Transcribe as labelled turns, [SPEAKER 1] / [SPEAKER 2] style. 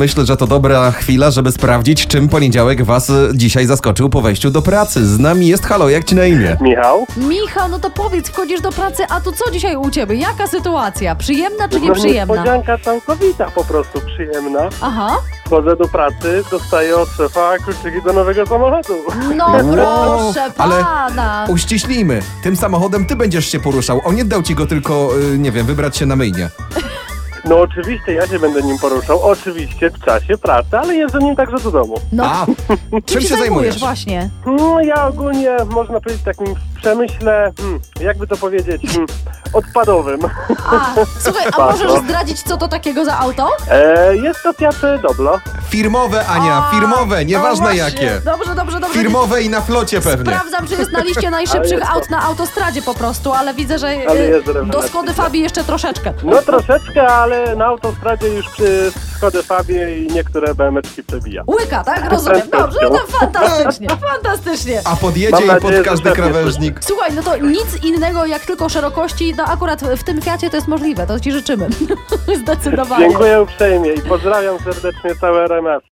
[SPEAKER 1] Myślę, że to dobra chwila, żeby sprawdzić, czym poniedziałek was e, dzisiaj zaskoczył po wejściu do pracy. Z nami jest Halo, jak ci na imię?
[SPEAKER 2] Michał?
[SPEAKER 3] Michał, no to powiedz, wchodzisz do pracy, a to co dzisiaj u ciebie? Jaka sytuacja? Przyjemna czy nieprzyjemna?
[SPEAKER 2] niespodzianka całkowita po prostu, przyjemna.
[SPEAKER 3] Aha,
[SPEAKER 2] Wchodzę do pracy, dostaję od szefa kluczyki do nowego samochodu.
[SPEAKER 3] no
[SPEAKER 1] Wow,
[SPEAKER 3] proszę
[SPEAKER 1] ale-
[SPEAKER 3] pana.
[SPEAKER 1] Uściślijmy, tym samochodem ty będziesz się poruszał. On nie dał ci go tylko, y, nie wiem, wybrać się na myjnie.
[SPEAKER 2] No oczywiście, ja się będę nim poruszał, oczywiście w czasie pracy, ale jeżdżę nim także do domu.
[SPEAKER 3] No,
[SPEAKER 1] A, czym się zajmujesz?
[SPEAKER 3] właśnie?
[SPEAKER 2] No ja ogólnie, można powiedzieć, takim w przemyśle, hmm, jakby to powiedzieć, hmm, odpadowym.
[SPEAKER 3] A, słuchaj, a
[SPEAKER 2] Bardzo.
[SPEAKER 3] możesz zdradzić, co to takiego za auto?
[SPEAKER 2] E, jest to Fiat Doblo.
[SPEAKER 1] Firmowe, Ania,
[SPEAKER 3] A,
[SPEAKER 1] firmowe, nieważne
[SPEAKER 3] no właśnie.
[SPEAKER 1] jakie.
[SPEAKER 3] Dobrze, dobrze, dobrze.
[SPEAKER 1] Firmowe i na flocie pewnie.
[SPEAKER 3] Sprawdzam, czy jest na liście najszybszych
[SPEAKER 2] Ale
[SPEAKER 3] aut na autostradzie po prostu, ale widzę, że
[SPEAKER 2] Ale
[SPEAKER 3] y,
[SPEAKER 2] jest rewelacja.
[SPEAKER 3] do Skody Fabii jeszcze troszeczkę.
[SPEAKER 2] No troszeczkę, ale na autostradzie już przy Skodę Fabie i niektóre BMeczki przebija.
[SPEAKER 3] Łyka, tak? Rozumiem. Dobrze, no fantastycznie, fantastycznie.
[SPEAKER 1] A
[SPEAKER 2] Mam
[SPEAKER 1] podjedzie i
[SPEAKER 2] nadzieję,
[SPEAKER 1] pod
[SPEAKER 2] że
[SPEAKER 1] każdy
[SPEAKER 2] też nie
[SPEAKER 1] krawężnik.
[SPEAKER 3] Słuchaj, no to nic innego jak tylko szerokości, no akurat w tym Fiacie to jest możliwe, to ci życzymy. Zdecydowanie.
[SPEAKER 2] Dziękuję uprzejmie i pozdrawiam serdecznie całe RMF.